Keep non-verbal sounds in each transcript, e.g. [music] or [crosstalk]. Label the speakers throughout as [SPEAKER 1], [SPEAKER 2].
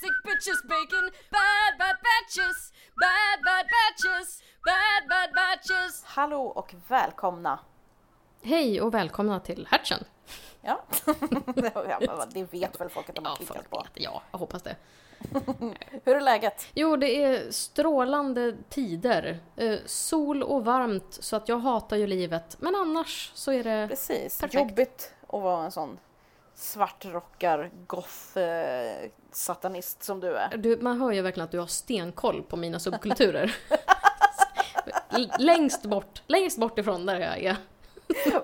[SPEAKER 1] sandwiches, bacon, bad bad batches, bad bad batches, bad bad batches.
[SPEAKER 2] Hallå och välkomna!
[SPEAKER 3] Hej och välkomna till Hatchen!
[SPEAKER 2] Ja, [laughs] ja men det vet väl folk att de har klickat på.
[SPEAKER 3] vet. Ja, jag hoppas det.
[SPEAKER 2] Hur är läget?
[SPEAKER 3] Jo, det är strålande tider. Eh, sol och varmt, så att jag hatar ju livet. Men annars så är det...
[SPEAKER 2] Precis,
[SPEAKER 3] Perfekt.
[SPEAKER 2] jobbigt att vara en sån svartrockar goth eh, satanist som du är.
[SPEAKER 3] Du, man hör ju verkligen att du har stenkoll på mina subkulturer. L- längst bort, längst bort ifrån där jag är.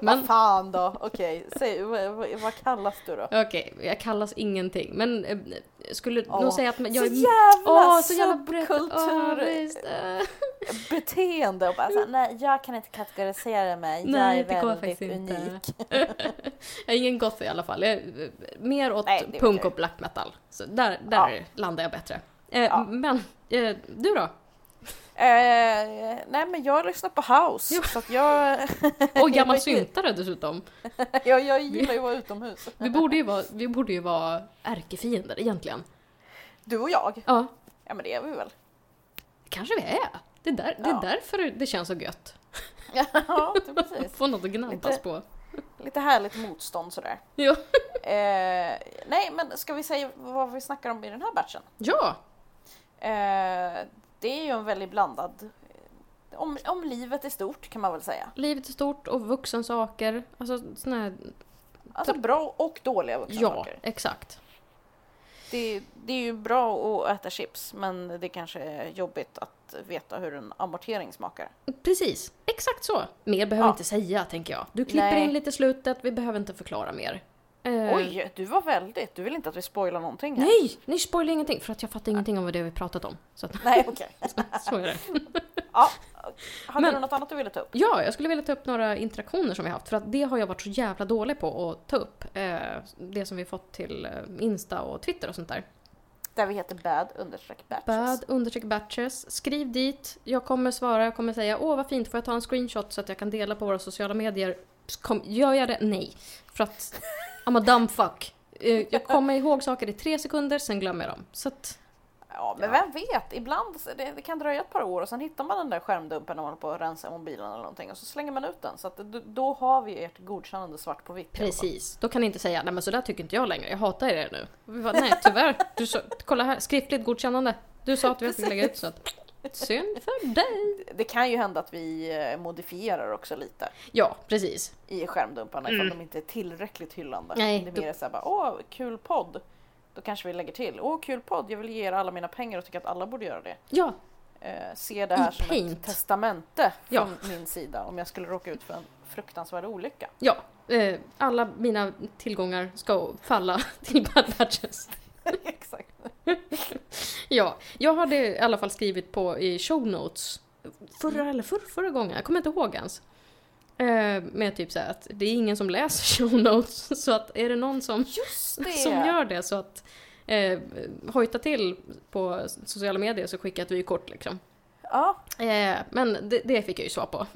[SPEAKER 2] Vad fan då? Okej, säg vad, vad- vad kallas du då?
[SPEAKER 3] Okej, jag kallas ingenting. Men eh, skulle
[SPEAKER 2] Åh,
[SPEAKER 3] nog säga att jag
[SPEAKER 2] så
[SPEAKER 3] är...
[SPEAKER 2] jävla
[SPEAKER 3] Åh, så jävla brett. Åh,
[SPEAKER 2] subkultur-
[SPEAKER 3] visst. Eh.
[SPEAKER 2] Beteende och bara såhär, nej jag kan inte kategorisera mig,
[SPEAKER 3] Nej,
[SPEAKER 2] jag
[SPEAKER 3] det
[SPEAKER 2] är
[SPEAKER 3] går
[SPEAKER 2] väldigt
[SPEAKER 3] faktiskt inte.
[SPEAKER 2] unik.
[SPEAKER 3] [laughs]
[SPEAKER 2] [laughs]
[SPEAKER 3] Jag är ingen goth i alla fall. Jag är mer åt
[SPEAKER 2] Nej, det vet
[SPEAKER 3] punk
[SPEAKER 2] jag.
[SPEAKER 3] och black metal. Så där,
[SPEAKER 2] Ja.
[SPEAKER 3] där landar jag bättre. Eh,
[SPEAKER 2] Ja.
[SPEAKER 3] Men eh, du då?
[SPEAKER 2] Eh, nej men jag lyssnar på house,
[SPEAKER 3] Jo.
[SPEAKER 2] så att jag,
[SPEAKER 3] Och gammal syntare dessutom.
[SPEAKER 2] jag, jag gillar ju att vara utomhus.
[SPEAKER 3] Vi borde ju vara, vi borde ju vara ärkefiender egentligen.
[SPEAKER 2] Du och jag,
[SPEAKER 3] Ja,
[SPEAKER 2] ja men det är vi väl?
[SPEAKER 3] kanske vi är. Det är, där, det
[SPEAKER 2] Ja.
[SPEAKER 3] är därför det känns så gött.
[SPEAKER 2] Ja, precis.
[SPEAKER 3] Få något att gnabbas
[SPEAKER 2] Lite-
[SPEAKER 3] på.
[SPEAKER 2] Lite härligt motstånd sådär.
[SPEAKER 3] Ja.
[SPEAKER 2] Eh, nej, men ska vi säga vad vi snackar om i den här batchen?
[SPEAKER 3] ja,
[SPEAKER 2] Eh, det är ju en väldigt blandad... eh, Om, om livet i stort kan man väl säga.
[SPEAKER 3] livet är stort och vuxensaker. Alltså såna här...
[SPEAKER 2] Alltså bra och dåliga
[SPEAKER 3] Ja,
[SPEAKER 2] vuxensaker.
[SPEAKER 3] exakt.
[SPEAKER 2] Det, det är ju bra att äta chips, men det kanske är jobbigt att veta hur en amortering smakar.
[SPEAKER 3] Precis, exakt så. Mer behöver
[SPEAKER 2] Ja.
[SPEAKER 3] vi inte säga, tänker jag. Du klipper
[SPEAKER 2] Nej.
[SPEAKER 3] in lite i slutet, vi behöver inte förklara mer. Eh,
[SPEAKER 2] Oj, du var väldigt... Du vill inte att vi spoilar någonting här?
[SPEAKER 3] Nej, ni spoilar ingenting för att jag fattar ingenting om vad det är vi pratat om. Så, att, [laughs]
[SPEAKER 2] Nej, okej.
[SPEAKER 3] så är det.
[SPEAKER 2] Ja, hade
[SPEAKER 3] Men-
[SPEAKER 2] du något annat du ville ta upp?
[SPEAKER 3] Ja, jag skulle vilja ta upp några interaktioner som vi haft för att det har jag varit så jävla dålig på att ta upp. Eh, det som vi fått till eh, Insta och Twitter och sånt där.
[SPEAKER 2] Där vi heter bad understreck batches.
[SPEAKER 3] Bad understreck batches. Skriv dit. Jag kommer svara, jag kommer säga åh vad fint, får jag ta en screenshot så att jag kan dela på våra sociala medier? Kom, gör jag det? Nej. För att I'm a dumb fuck. Eh, jag kommer ihåg saker i tre sekunder, sen glömmer jag dem. Så att,
[SPEAKER 2] Ja, men vem vet? Ibland så- det, det kan dröja ett par år och sen hittar man den där skärmdumpen när man håller på att rensa mobilen eller någonting och så slänger man ut den. Så att, d- då har vi ert godkännande svart på vitt. i alla fall.
[SPEAKER 3] Precis, då kan ni inte säga nej men så där tycker inte jag längre, jag hatar er nu. Vi bara, nej tyvärr, du sa, kolla här, skriftligt godkännande. Du sa att vi skulle lägga ut så att synd för dig.
[SPEAKER 2] Det kan ju hända att vi eh, modifierar också lite
[SPEAKER 3] Ja, precis.
[SPEAKER 2] i skärmdumparna ifall de inte är tillräckligt hyllande.
[SPEAKER 3] Mm. Nej,
[SPEAKER 2] det är
[SPEAKER 3] då-
[SPEAKER 2] mer såhär bara, åh kul podd. Då kanske vi lägger till, åh kul podd, jag vill ge er alla mina pengar och tycker att alla borde göra det.
[SPEAKER 3] Ja,
[SPEAKER 2] Eh, se det här
[SPEAKER 3] I
[SPEAKER 2] som ett
[SPEAKER 3] paint.
[SPEAKER 2] testamente
[SPEAKER 3] Ja.
[SPEAKER 2] från min sida om jag skulle råka ut för en fruktansvärd olycka.
[SPEAKER 3] [laughs] ja. Eh, alla mina tillgångar ska falla till bad batches.
[SPEAKER 2] Exakt.
[SPEAKER 3] Ja, jag hade i alla fall skrivit på i show notes förra eller förr, förra gången, jag kommer inte ihåg ens. Eh, med typ såhär att det är ingen som läser [laughs] show notes så att är det någon som
[SPEAKER 2] Just det!
[SPEAKER 3] som gör det så att eh, hojta till på sociala medier så skickar jag ett vykort liksom.
[SPEAKER 2] Ja,
[SPEAKER 3] Eh, men det, det fick jag ju svar på. [laughs]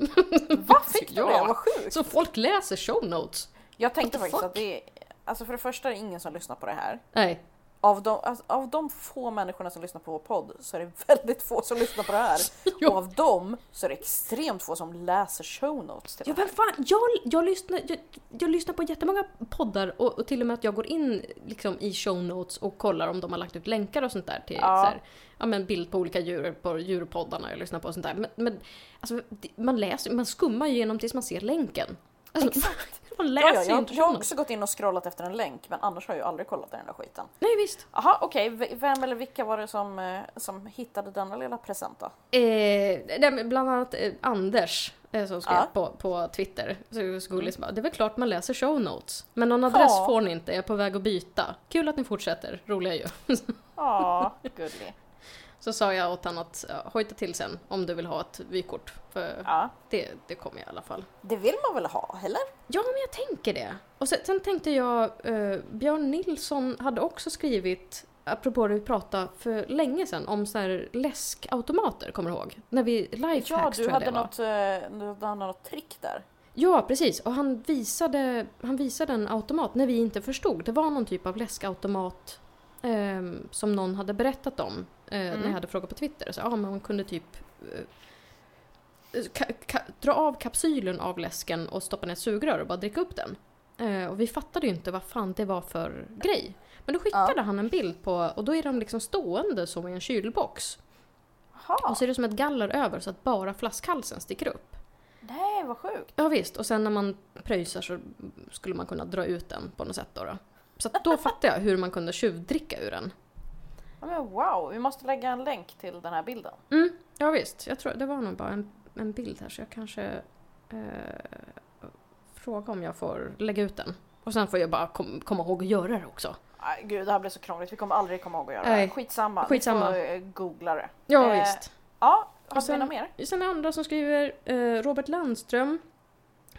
[SPEAKER 2] Vad fick du
[SPEAKER 3] Ja.
[SPEAKER 2] det? Vad sjukt!
[SPEAKER 3] Så folk läser show notes?
[SPEAKER 2] Jag tänkte
[SPEAKER 3] What the
[SPEAKER 2] faktiskt
[SPEAKER 3] fuck?
[SPEAKER 2] att det är, alltså för det första är det ingen som lyssnar på det här.
[SPEAKER 3] Nej.
[SPEAKER 2] Av de, alltså, av de få människorna som lyssnar på vår podd så är det väldigt få som lyssnar på
[SPEAKER 3] [laughs]
[SPEAKER 2] det här.
[SPEAKER 3] Jo.
[SPEAKER 2] Och av dem så är det extremt få som läser show notes till
[SPEAKER 3] Ja
[SPEAKER 2] det
[SPEAKER 3] men
[SPEAKER 2] här.
[SPEAKER 3] fan, jag, jag, lyssnar, jag, jag lyssnar på jättemånga poddar och, och till och med att jag går in liksom, i show notes och kollar om de har lagt ut länkar och sånt där till
[SPEAKER 2] Ja.
[SPEAKER 3] ja. Så här, ja, men bild på olika djur på djurpoddarna jag lyssnar på och sånt där. Men, men alltså, det- man läser man skummar ju igenom tills man ser länken. Alltså,
[SPEAKER 2] Exakt!
[SPEAKER 3] [laughs] Man läser
[SPEAKER 2] Ja, ja,
[SPEAKER 3] ju
[SPEAKER 2] jag,
[SPEAKER 3] inte
[SPEAKER 2] jag
[SPEAKER 3] show
[SPEAKER 2] har
[SPEAKER 3] notes.
[SPEAKER 2] också gått in och scrollat efter en länk men annars har jag aldrig kollat i den där skiten.
[SPEAKER 3] Nej visst.
[SPEAKER 2] Jaha okej, V- vem eller vilka var det som, eh, som hittade denna lilla present då?
[SPEAKER 3] Eh, nej, men bland annat eh, Anders eh, som skrev
[SPEAKER 2] Ja. Mm.
[SPEAKER 3] på, på Twitter. Så, så gulligt, bara, det är väl klart man läser show notes. Men någon adress
[SPEAKER 2] Ja.
[SPEAKER 3] får ni inte, jag är på väg att byta. Kul att ni fortsätter, roliga ju.
[SPEAKER 2] Ja, gullig.
[SPEAKER 3] Så sa jag åt honom att ja, hojta till sen om du vill ha ett vykort. För
[SPEAKER 2] Ja.
[SPEAKER 3] det, det kommer jag i alla fall.
[SPEAKER 2] Det vill man väl ha, eller?
[SPEAKER 3] Ja, men jag tänker det. Och sen, sen tänkte jag, eh, Björn Nilsson hade också skrivit, apropå det vi pratade för länge sedan, om så här läskautomater, kommer du ihåg? När vi lifehacks
[SPEAKER 2] Ja,
[SPEAKER 3] tror
[SPEAKER 2] du
[SPEAKER 3] jag
[SPEAKER 2] hade,
[SPEAKER 3] det var.
[SPEAKER 2] något, eh, du hade något trick där.
[SPEAKER 3] Ja, precis. Och han visade, han visade en automat när vi inte förstod. Det var någon typ av läskautomat. ehm, som någon hade berättat om eh, när
[SPEAKER 2] Mm.
[SPEAKER 3] jag hade frågat på Twitter. Så, ja, men man kunde typ eh, ka, ka, dra av kapsylen av läsken och stoppa ner ett sugrör och bara dricka upp den. Eh, och vi fattade ju inte vad fan det var för grej. Men då skickade han en bild på, och då är de liksom stående som i en kylbox.
[SPEAKER 2] Jaha,
[SPEAKER 3] Och så är det som ett galler över så att bara flaskhalsen sticker upp.
[SPEAKER 2] nej vad sjukt.
[SPEAKER 3] Ja visst, och sen när man pröjsar så skulle man kunna dra ut den på något sätt då. då. Så att [laughs] då fattade jag hur man kunde tjuvdricka ur den.
[SPEAKER 2] Ja, men wow, vi måste lägga en länk till den här bilden.
[SPEAKER 3] Mm, ja visst, jag tror det var nog bara en, en bild här så jag kanske eh, frågar om jag får lägga ut den. Och sen får jag bara kom, komma ihåg att göra det också.
[SPEAKER 2] Aj, gud, det här blir så krångligt. Vi kommer aldrig komma ihåg att göra det här.
[SPEAKER 3] Nej.
[SPEAKER 2] Skitsamma. vi
[SPEAKER 3] Skitsamma.
[SPEAKER 2] får, eh, googla det.
[SPEAKER 3] Ja
[SPEAKER 2] Eh,
[SPEAKER 3] visst.
[SPEAKER 2] Ja,
[SPEAKER 3] Och
[SPEAKER 2] har vi
[SPEAKER 3] sen-
[SPEAKER 2] något mer?
[SPEAKER 3] Sen är det andra som skriver, eh, Robert Landström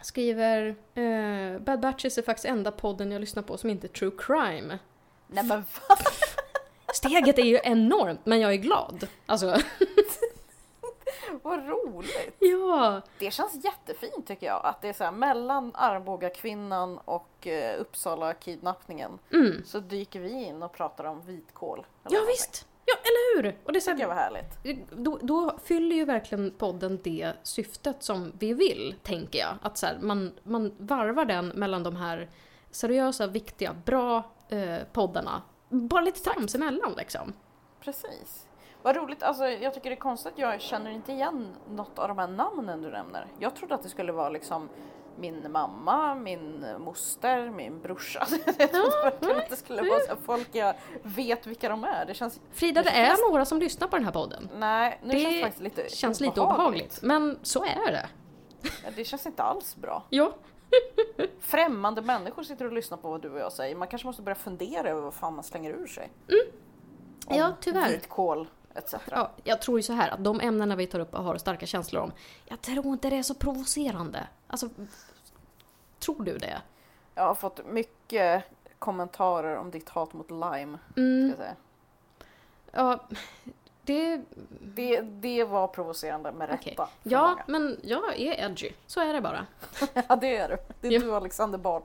[SPEAKER 3] skriver eh, Bad Batches är faktiskt enda podden jag lyssnar på som inte är true crime.
[SPEAKER 2] Nej men va?
[SPEAKER 3] Steget är ju enormt men jag är glad. Alltså,
[SPEAKER 2] [laughs] vad roligt.
[SPEAKER 3] ja.
[SPEAKER 2] Det känns jättefint tycker jag att det är så här mellan Arboga kvinnan och eh, Uppsala kidnappningen
[SPEAKER 3] Mm.
[SPEAKER 2] så dyker vi in och pratar om vitkål. eller
[SPEAKER 3] Ja
[SPEAKER 2] någonting.
[SPEAKER 3] visst! Ja, eller hur? Och det är så
[SPEAKER 2] Det
[SPEAKER 3] här,
[SPEAKER 2] var härligt.
[SPEAKER 3] då, då fyller ju verkligen podden det syftet som vi vill, tänker jag. Att så här, man, man varvar den mellan de här seriösa, viktiga, bra eh, poddarna. Bara lite trams emellan liksom.
[SPEAKER 2] Precis. Vad roligt, alltså jag tycker det är konstigt att jag känner inte igen något av de här namnen du nämner. Jag trodde att det skulle vara liksom min mamma, min moster, min brorsa. [laughs] Jag trodde verkligen att det skulle vara så här folk jag vet vilka de är. Det känns,
[SPEAKER 3] Frida, det är några som lyssnar på den här podden.
[SPEAKER 2] nej, nu
[SPEAKER 3] Det
[SPEAKER 2] känns det faktiskt lite
[SPEAKER 3] Känns lite obehagligt, men så är det.
[SPEAKER 2] Det känns inte alls bra.
[SPEAKER 3] Ja,
[SPEAKER 2] Främmande människor sitter och lyssnar på vad du och jag säger. Man kanske måste börja fundera över vad fan man slänger ur sig. Om
[SPEAKER 3] Mm. ja tyvärr.
[SPEAKER 2] Vitkål etc.
[SPEAKER 3] Ja, jag tror ju så här att de ämnena vi tar upp och har starka känslor om, jag tror inte det är så provocerande. Alltså, tror du det?
[SPEAKER 2] Jag har fått mycket kommentarer om ditt hat mot lime. Ska
[SPEAKER 3] Mm,
[SPEAKER 2] jag säga.
[SPEAKER 3] ja, det,
[SPEAKER 2] Det, det var provocerande med
[SPEAKER 3] Okej.
[SPEAKER 2] rätta. för
[SPEAKER 3] ja, men jag är edgy. Så är det bara.
[SPEAKER 2] många. ja, det är du. Det är
[SPEAKER 3] Ja.
[SPEAKER 2] du Alexander Bard.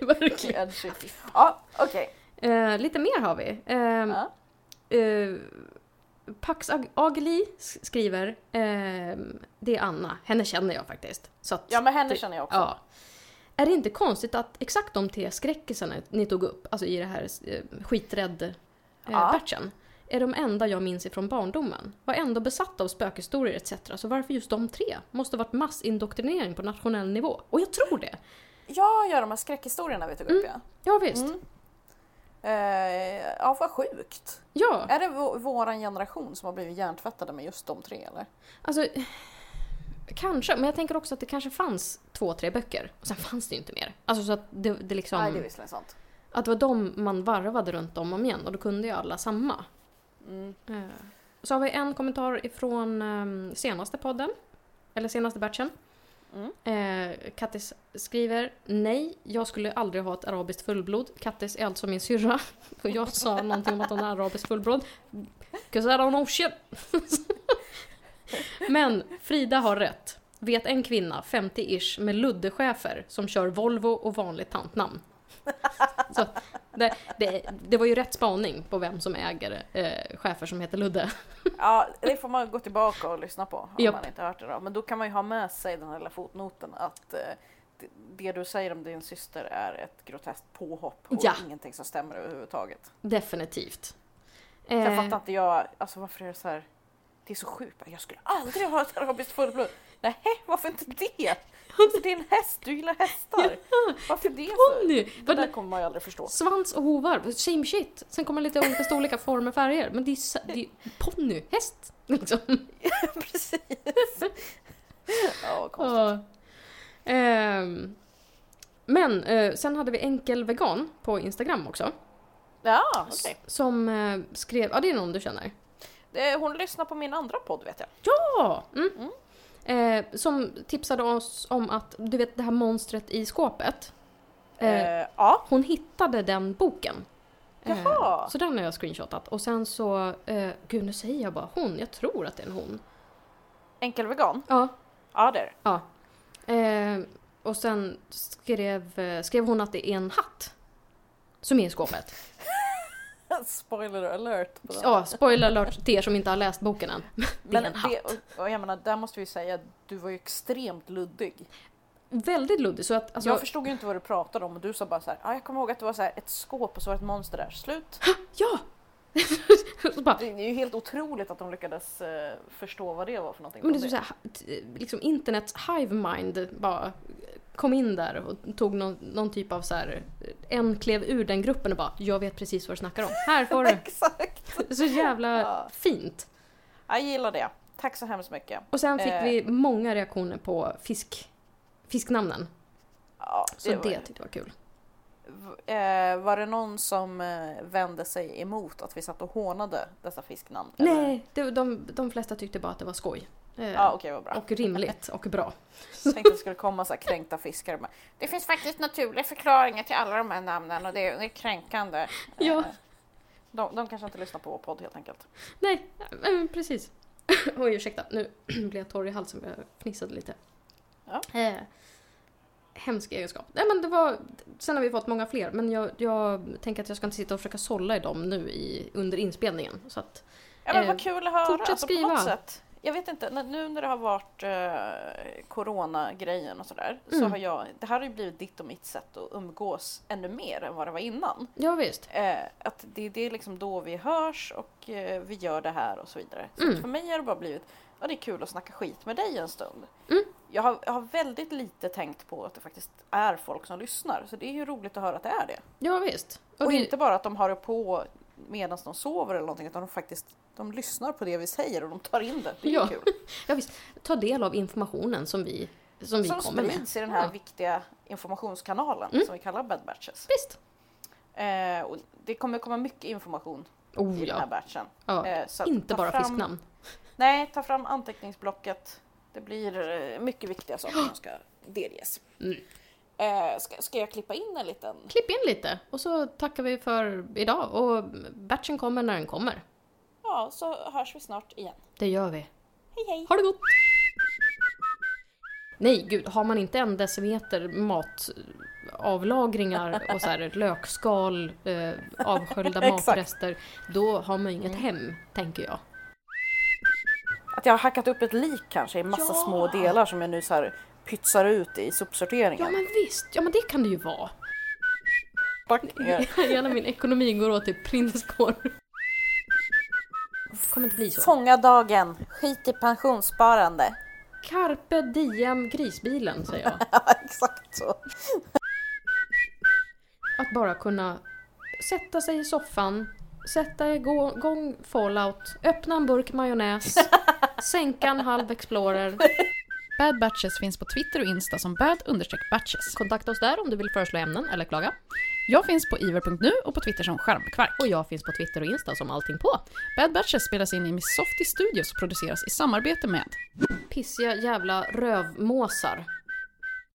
[SPEAKER 3] Verkligen.
[SPEAKER 2] Edgy. Ja, okej.
[SPEAKER 3] Eh, lite mer har vi. Ehm,
[SPEAKER 2] Ja.
[SPEAKER 3] eh, Pax Ag- Agli s- skriver, ehm, det är Anna, henne känner jag faktiskt. Så att,
[SPEAKER 2] Ja, men henne
[SPEAKER 3] det-
[SPEAKER 2] känner jag också.
[SPEAKER 3] typ- Ja. Är det inte konstigt att exakt de tre skräckisarna ni tog upp, alltså i det här eh,
[SPEAKER 2] Ja.
[SPEAKER 3] skiträdd-batchen, är de enda jag minns ifrån barndomen. Var ändå besatt av spökhistorier etc. Så varför just de tre? Måste varit massindoktrinering på nationell nivå. Och jag tror det!
[SPEAKER 2] Jag gör de här skräckhistorierna vi tog upp ja.
[SPEAKER 3] Ja visst.
[SPEAKER 2] Mm. Eh, ja, vad sjukt.
[SPEAKER 3] Ja,
[SPEAKER 2] Är det vå- våran generation som har blivit hjärntvättade med just de tre eller?
[SPEAKER 3] alltså... eh, Kanske, men jag tänker också att det kanske fanns två, tre böcker. Och sen fanns det ju inte mer. Alltså så att det, det liksom...
[SPEAKER 2] Nej, det är visserligen sant.
[SPEAKER 3] Att det var de man varvade runt om och om igen och då kunde ju alla samma.
[SPEAKER 2] Mm.
[SPEAKER 3] Eh, Så har vi en kommentar ifrån ehm, senaste podden. Eller senaste batchen. [laughs]
[SPEAKER 2] Mm.
[SPEAKER 3] Eh, Kattis skriver Nej, jag skulle aldrig ha ett arabiskt fullblod. Kattis är alltså min syrra. [laughs] Och jag sa någonting om att hon är arabiskt fullblod. 'Cause I don't know shit. [laughs] Men Frida har rätt. Vet en kvinna, 50-ish, med luddechefer som kör Volvo och vanligt tantnamn. Så det, det, det var ju rätt spaning på vem som äger eh, chefer som heter Ludde.
[SPEAKER 2] Ja, det får man gå tillbaka och lyssna på om
[SPEAKER 3] Japp.
[SPEAKER 2] man inte hört det då. Men då kan man ju ha med sig den här lilla fotnoten att eh, det- det du säger om din syster är ett groteskt påhopp och
[SPEAKER 3] Ja.
[SPEAKER 2] ingenting som stämmer överhuvudtaget.
[SPEAKER 3] Definitivt.
[SPEAKER 2] Sen
[SPEAKER 3] Eh,
[SPEAKER 2] fattar inte jag, alltså varför är det så här, det är så sjukt, jag skulle aldrig ha ett arabiskt fullblod. Nej, varför inte det? Varför det är en häst, du gillar
[SPEAKER 3] [laughs]
[SPEAKER 2] hästar. Varför det? För?
[SPEAKER 3] Bonnie!
[SPEAKER 2] Det
[SPEAKER 3] Vad-
[SPEAKER 2] där kommer man ju aldrig förstå.
[SPEAKER 3] Svans och hovar, same shit. Sen kommer lite olika storlekar, former, färger. Men det är, sa- det är ponny, häst. Liksom.
[SPEAKER 2] Precis. Ja, vad konstigt.
[SPEAKER 3] Ja. Ehm, men eh, sen hade vi enkel vegan på Instagram också.
[SPEAKER 2] Ja, okej.
[SPEAKER 3] Som eh, skrev, ja det är någon du känner.
[SPEAKER 2] Det- Hon lyssnar på min andra podd vet jag.
[SPEAKER 3] Ja! Mm. Eh, som tipsade oss om att, du vet det här monstret i skåpet. Eh,
[SPEAKER 2] Eh, ja,
[SPEAKER 3] Hon hittade den boken. Eh,
[SPEAKER 2] Jaha.
[SPEAKER 3] Så den har jag screenshotat. Och sen så, eh, gud nu säger jag bara hon, jag tror att det är en hon.
[SPEAKER 2] enkel vegan.
[SPEAKER 3] Ja,
[SPEAKER 2] Ja, det är det.
[SPEAKER 3] Ja. Eh, och sen skrev, eh, skrev hon att det är en hatt. Som är i skåpet.
[SPEAKER 2] Spoiler alert. På den.
[SPEAKER 3] Ja, spoiler alert till er som inte har läst boken än. Det är
[SPEAKER 2] Men
[SPEAKER 3] en hatt.
[SPEAKER 2] det, och, och jag menar, där måste vi säga att du var ju extremt luddig.
[SPEAKER 3] Väldigt luddig så att alltså,
[SPEAKER 2] jag förstod ju inte vad du pratade om och du sa bara så här, ah, jag kommer ihåg att det var så här ett skåp och så var det ett monster där. Slut.
[SPEAKER 3] Ja! så bara,
[SPEAKER 2] Det är ju helt otroligt att de lyckades eh, förstå vad det var för någonting.
[SPEAKER 3] men det är typ såhär, t- liksom internets hive mind bara kom in där och tog någon, någon typ av så här. en klev ur den gruppen och bara “jag vet precis vad du snackar om, här
[SPEAKER 2] [laughs]
[SPEAKER 3] får
[SPEAKER 2] Oh
[SPEAKER 3] du”.
[SPEAKER 2] Exakt.
[SPEAKER 3] Så jävla
[SPEAKER 2] Ja.
[SPEAKER 3] fint.
[SPEAKER 2] Jag gillar det. Tack så hemskt mycket.
[SPEAKER 3] Och sen fick
[SPEAKER 2] Eh.
[SPEAKER 3] vi många reaktioner på fisk, fisknamnen.
[SPEAKER 2] Ja,
[SPEAKER 3] Så det,
[SPEAKER 2] var-
[SPEAKER 3] tyckte jag var kul.
[SPEAKER 2] V- eh, var det någon som eh, vände sig emot att vi satt och hånade dessa fisknamn? eller?
[SPEAKER 3] Nej, det, de, de flesta tyckte bara att det var skoj. Eh,
[SPEAKER 2] Ja, okej, vad bra.
[SPEAKER 3] Och rimligt och bra.
[SPEAKER 2] Jag tänkte att det skulle komma så här kränkta fiskare. Men det finns faktiskt naturliga förklaringar till alla de här namnen och det är, det är kränkande. Eh,
[SPEAKER 3] Ja.
[SPEAKER 2] De, de kanske inte lyssnar på vår podd helt enkelt.
[SPEAKER 3] Nej, eh, men precis. [laughs] Oj, ursäkta. Nu [clears throat] blev jag torr i halsen för jag fnissade lite.
[SPEAKER 2] Ja.
[SPEAKER 3] Eh, hemsk egenskap. Nej, men det var, sen har vi fått många fler, men jag, jag tänker att jag ska inte sitta och försöka sålla i dem nu i, under inspelningen. Så att,
[SPEAKER 2] Ja, men
[SPEAKER 3] Eh,
[SPEAKER 2] vad kul att höra.
[SPEAKER 3] fortsätt
[SPEAKER 2] Alltså, på
[SPEAKER 3] skriva.
[SPEAKER 2] något sätt, jag vet inte, när- nu när det har varit eh, coronagrejen och sådär, så
[SPEAKER 3] Mm.
[SPEAKER 2] har jag, det här har ju blivit ditt och mitt sätt att umgås ännu mer än vad det var innan.
[SPEAKER 3] ja, visst.
[SPEAKER 2] Eh, att det, det är liksom då vi hörs och eh, vi gör det här och så vidare. Så
[SPEAKER 3] Mm.
[SPEAKER 2] att för mig har det bara blivit, ja det är kul att snacka skit med dig en stund.
[SPEAKER 3] Mm.
[SPEAKER 2] Jag, har, jag har väldigt lite tänkt på att det faktiskt är folk som lyssnar, så det är ju roligt att höra att det är det.
[SPEAKER 3] Ja, visst.
[SPEAKER 2] Och,
[SPEAKER 3] det-
[SPEAKER 2] inte bara att de har det på medan de sover eller någonting, utan de faktiskt de lyssnar på det vi säger och de tar in det. Det är
[SPEAKER 3] Ja,
[SPEAKER 2] ju kul.
[SPEAKER 3] Ja, visst. Ta del av informationen som vi, som vi
[SPEAKER 2] Som
[SPEAKER 3] kommer med.
[SPEAKER 2] sprids i den här
[SPEAKER 3] Ja.
[SPEAKER 2] viktiga informationskanalen
[SPEAKER 3] Mm.
[SPEAKER 2] som vi kallar Bad Batches.
[SPEAKER 3] Visst.
[SPEAKER 2] Eh, och det kommer komma mycket information
[SPEAKER 3] Oh
[SPEAKER 2] i den här
[SPEAKER 3] ja.
[SPEAKER 2] batchen.
[SPEAKER 3] ja.
[SPEAKER 2] Eh, så att
[SPEAKER 3] Inte
[SPEAKER 2] ta
[SPEAKER 3] bara
[SPEAKER 2] fram-
[SPEAKER 3] fisknamn.
[SPEAKER 2] Nej, ta fram anteckningsblocket. Det blir eh, mycket viktiga saker
[SPEAKER 3] [gasps]
[SPEAKER 2] som ska delges.
[SPEAKER 3] Mm.
[SPEAKER 2] Eh, ska, ska jag klippa in en liten?
[SPEAKER 3] Klipp in lite och så tackar vi för idag och batchen kommer när den kommer.
[SPEAKER 2] Ja, så hörs vi snart igen.
[SPEAKER 3] Det gör vi.
[SPEAKER 2] Hej hej!
[SPEAKER 3] Ha det gott! Nej, gud, har man inte en decimeter matavlagringar och så här [laughs] lökskal, eh, avsköljda
[SPEAKER 2] [laughs] Exakt. Mm.
[SPEAKER 3] matrester, då har man inget hem, tänker jag.
[SPEAKER 2] Att jag har hackat upp ett lik kanske i massa
[SPEAKER 3] Ja.
[SPEAKER 2] små delar som jag nu så här pytsar ut i sopsorteringen.
[SPEAKER 3] Ja, men visst, ja men det kan det ju vara.
[SPEAKER 2] Fuck.
[SPEAKER 3] [laughs] Hela min ekonomi går åt till prinskorv. Det kommer inte bli så.
[SPEAKER 2] Fånga dagen, skit i pensionssparande. [laughs]
[SPEAKER 3] Carpe diem grisbilen, säger jag.
[SPEAKER 2] Ja, exakt så.
[SPEAKER 3] Att bara kunna sätta sig i soffan, sätta igå- igång Fallout, öppna en burk majonnäs, sänka en halv Explorer.
[SPEAKER 4] Bad Batches finns på Twitter och Insta som bad-batches.
[SPEAKER 3] Kontakta oss där om du vill föreslå ämnen eller klaga.
[SPEAKER 4] Jag finns på iver.nu och på Twitter som skärmkvark.
[SPEAKER 3] Och jag finns på Twitter och Insta som allting på.
[SPEAKER 4] Bad Batches spelas in i Miss Softy Studios och produceras i samarbete med
[SPEAKER 3] Pissiga jävla rövmåsar.